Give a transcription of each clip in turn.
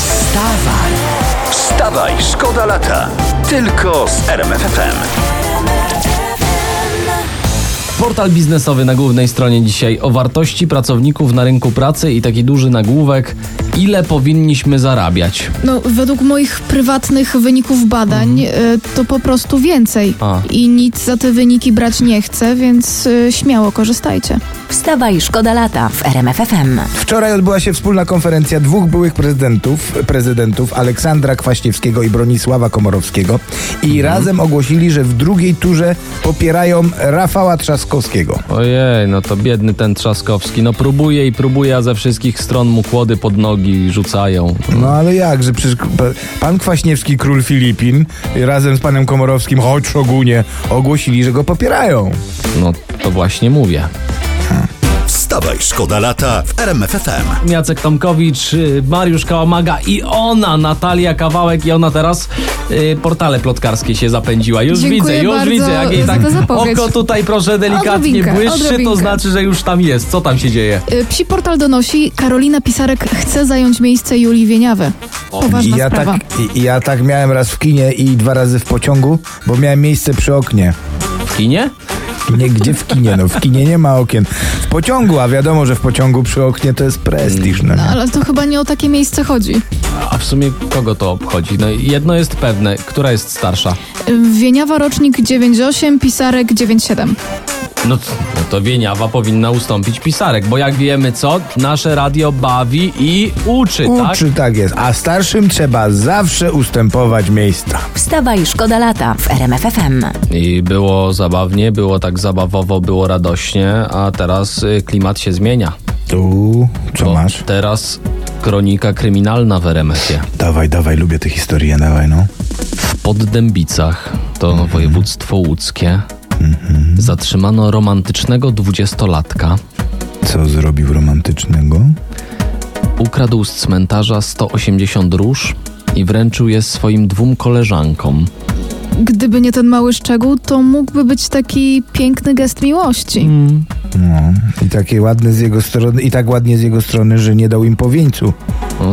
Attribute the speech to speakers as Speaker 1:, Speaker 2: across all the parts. Speaker 1: Wstawaj,
Speaker 2: Wstawaj, szkoda lata. Tylko z RMFFM.
Speaker 3: Portal biznesowy na głównej stronie dzisiaj o wartości pracowników na rynku pracy i taki duży nagłówek, ile powinniśmy zarabiać.
Speaker 4: No, według moich prywatnych wyników badań
Speaker 5: Mhm.
Speaker 4: y, to po prostu więcej.
Speaker 3: A.
Speaker 4: I nic za te wyniki brać nie chcę, więc y, śmiało korzystajcie.
Speaker 6: Wstawaj, szkoda lata w RMFFM.
Speaker 5: Wczoraj odbyła się wspólna konferencja dwóch byłych prezydentów, prezydentów Aleksandra Kwaśniewskiego i Bronisława Komorowskiego i razem ogłosili, że w drugiej turze popierają Rafała Trzaskowskiego.
Speaker 3: Ojej, no to biedny ten Trzaskowski. No próbuje i próbuje, a ze wszystkich stron mu kłody pod nogi rzucają.
Speaker 5: No ale jakże, przecież p- pan Kwaśniewski, król Filipin, razem z panem Komorowskim, choć szogunie, ogłosili, że go popierają.
Speaker 3: No to właśnie mówię.
Speaker 2: Wstawaj, szkoda lata w RMFFM.
Speaker 3: Jacek Tomkowicz, y, Mariusz Kałamaga i ona, Natalia Kawałek i ona teraz y, portale plotkarskie się zapędziła. Już
Speaker 4: Dziękuję
Speaker 3: widzę, już
Speaker 4: bardzo
Speaker 3: widzę. Jak jej
Speaker 4: za
Speaker 3: tak
Speaker 4: tę zapowiedź.
Speaker 3: oko tutaj proszę delikatnie
Speaker 4: Odrobinkę,
Speaker 3: błyszczy, to
Speaker 4: odrobinkę.
Speaker 3: znaczy, że już tam jest. Co tam się dzieje?
Speaker 4: Y, Psi portal donosi, Karolina Pisarek chce zająć miejsce Julii Wieniawy. Poważna
Speaker 5: ja
Speaker 4: sprawa.
Speaker 5: tak, i- ja tak miałem raz w kinie i dwa razy w pociągu, bo miałem miejsce przy oknie.
Speaker 3: W kinie?
Speaker 5: Nie, gdzie w kinie? No w kinie nie ma okien. W pociągu, a wiadomo, że w pociągu przy oknie to jest prestiż. No.
Speaker 4: No, ale to chyba nie o takie miejsce chodzi.
Speaker 3: A w sumie kogo to obchodzi? No jedno jest pewne, która jest starsza?
Speaker 4: Y, Wieniawa rocznik 98, Pisarek 97.
Speaker 3: No, c- no to Wieniawa powinna ustąpić Pisarek, bo jak wiemy co, nasze radio bawi i uczy, tak?
Speaker 5: Uczy, tak jest. A starszym trzeba zawsze ustępować miejsca.
Speaker 6: Wstawaj, szkoda lata w RMFFM.
Speaker 3: I było zabawnie, było tak zabawowo, było radośnie, a teraz y, klimat się zmienia.
Speaker 5: Tu, co
Speaker 4: No.
Speaker 3: Bo
Speaker 5: masz?
Speaker 3: Teraz kronika kryminalna w RMF-ie.
Speaker 5: Dawaj, dawaj, lubię tę historię, dawaj, no.
Speaker 3: W Poddębicach, to województwo łódzkie, zatrzymano romantycznego dwudziestolatka.
Speaker 5: Co zrobił romantycznego?
Speaker 3: Ukradł z cmentarza 180 róż i wręczył je swoim dwóm koleżankom.
Speaker 4: Gdyby nie ten mały szczegół, to mógłby być taki piękny gest miłości.
Speaker 5: No. I takie ładne z jego strony, i tak ładnie z jego strony, że nie dał im powieńcu.
Speaker 3: No,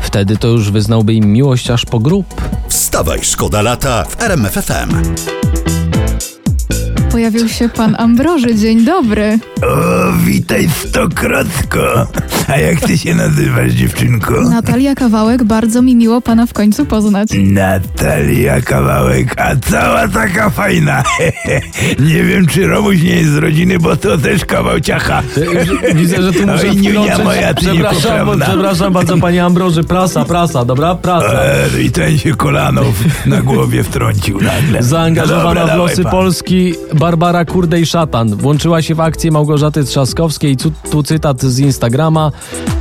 Speaker 3: wtedy to już wyznałby im miłość aż po grób.
Speaker 2: Wstawaj, szkoda lata w RMFFM.
Speaker 4: Pojawił się pan Ambroży, dzień dobry.
Speaker 5: O, witaj stokrotko. A jak ty się nazywasz, dziewczynko?
Speaker 4: Natalia Kawałek, bardzo mi miło pana w końcu poznać.
Speaker 5: Natalia Kawałek, a cała taka fajna. nie wiem, czy Romuś nie jest z rodziny, bo to też kawał ciacha.
Speaker 3: Widzę, że tu muszę
Speaker 5: Oj, niunia
Speaker 3: wkroczyć.
Speaker 5: moja, ty
Speaker 3: przepraszam, bo,
Speaker 5: niepoprawna.
Speaker 3: przepraszam bardzo, panie Ambroży, prasa, prasa, dobra? Prasa.
Speaker 5: E, I ten się kolanów na głowie wtrącił nagle.
Speaker 3: Zaangażowana
Speaker 5: No Dobra,
Speaker 3: w losy
Speaker 5: dawaj pan.
Speaker 3: Polski Barbara Kurdej-Szatan włączyła się w akcję Małgorzaty Trzaskowskiej. Tu, tu cytat z Instagrama.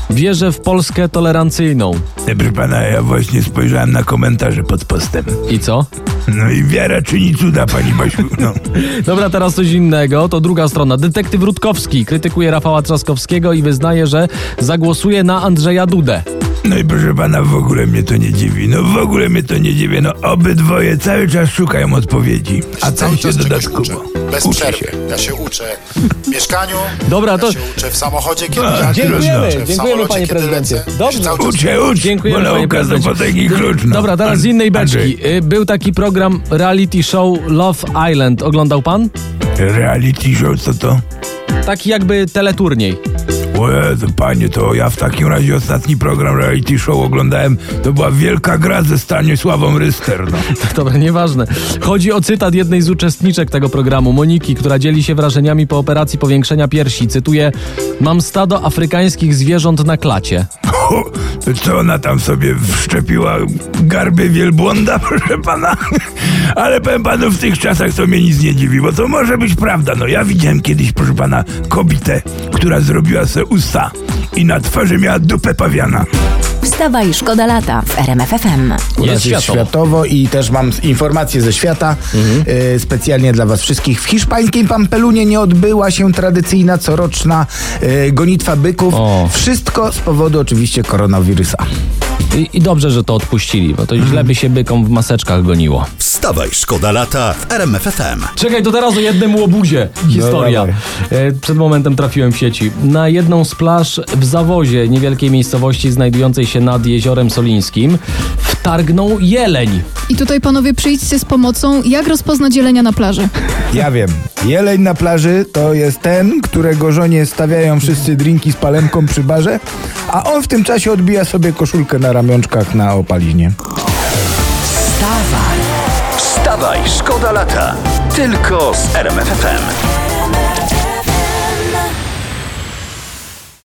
Speaker 3: Wierzę w Polskę tolerancyjną.
Speaker 5: Proszę pana, ja właśnie spojrzałem na komentarze pod postem.
Speaker 3: I co?
Speaker 5: No i wiara czyni cuda, pani Basiu. No.
Speaker 3: Dobra, teraz coś innego. To druga strona. Detektyw Rutkowski krytykuje Rafała Trzaskowskiego i wyznaje, że zagłosuje na Andrzeja Dudę.
Speaker 5: No i proszę pana, w ogóle mnie to nie dziwi. No w ogóle mnie to nie dziwi. No obydwoje cały czas szukają odpowiedzi. A
Speaker 7: cały
Speaker 5: tam się
Speaker 7: czas czegoś
Speaker 5: dodatkowo.
Speaker 7: uczę. Bez
Speaker 5: Uczy
Speaker 7: przerwy.
Speaker 5: się.
Speaker 7: Ja się uczę w mieszkaniu.
Speaker 3: Dobra,
Speaker 7: ja
Speaker 3: to-
Speaker 7: się uczę w samochodzie, kiedy
Speaker 5: A,
Speaker 7: jadę,
Speaker 5: dziękujemy,
Speaker 7: ja się uczę w
Speaker 3: dziękujemy,
Speaker 7: samolocie,
Speaker 3: panie
Speaker 7: kiedy
Speaker 3: prezydencie.
Speaker 7: lecę.
Speaker 3: Dobrze.
Speaker 7: Ja się cały czas
Speaker 5: Ucz się,
Speaker 3: Dziękujemy,
Speaker 5: ucz. Dziękuję, bo
Speaker 3: panie
Speaker 5: nauka do
Speaker 3: prezydencie.
Speaker 5: potęgi klucz. No.
Speaker 3: Dobra, teraz z
Speaker 5: An-
Speaker 3: innej beczki.
Speaker 5: Andrzej,
Speaker 3: Y, Był taki program reality show Love Island. Oglądał pan?
Speaker 5: Reality show, co to?
Speaker 3: Taki jakby teleturniej.
Speaker 5: O Jezu, panie, to ja w takim razie ostatni program reality show oglądałem. To była wielka gra ze Stanisławą Ryster, no.
Speaker 3: Dobra, nieważne. Chodzi o cytat jednej z uczestniczek tego programu, Moniki, która dzieli się wrażeniami po operacji powiększenia piersi. Cytuję: Mam stado afrykańskich zwierząt na klacie.
Speaker 5: O, Co ona tam sobie wszczepiła? Garby wielbłąda, proszę pana? Ale powiem panu, w tych czasach to mnie nic nie dziwi, bo to może być prawda. No ja widziałem kiedyś, proszę pana, kobietę, która zrobiła se usta i na twarzy miała dupę pawiana.
Speaker 6: Wstawaj, szkoda lata w RMFFM.
Speaker 3: Jest
Speaker 5: Teraz
Speaker 3: światowo. Mhm.
Speaker 5: i też mam informacje ze świata e, specjalnie dla was wszystkich. W hiszpańskiej Pampelunie nie odbyła się tradycyjna coroczna e, gonitwa byków.
Speaker 3: O.
Speaker 5: Wszystko z powodu oczywiście koronawirusa.
Speaker 3: I, I dobrze, że to odpuścili, bo to źle by się bykom w maseczkach goniło.
Speaker 2: Wstawaj, szkoda lata w RMFFM.
Speaker 3: Czekaj, to teraz o jednym łobuzie. Historia.
Speaker 5: dawaj.
Speaker 3: E, Przed momentem trafiłem w sieci. Na jedną z plaż w Zawozie, niewielkiej miejscowości znajdującej się nad Jeziorem Solińskim, wtargnął jeleń.
Speaker 4: I tutaj panowie przyjdźcie z pomocą, jak rozpoznać zielenia na plaży.
Speaker 5: Ja wiem. Jeleń na plaży to jest ten, którego żonie stawiają wszyscy drinki z palemką przy barze, a on w tym czasie odbija sobie koszulkę na ramionczkach na opaliźnie.
Speaker 2: Wstawaj, szkoda lata. Tylko z RMFFM.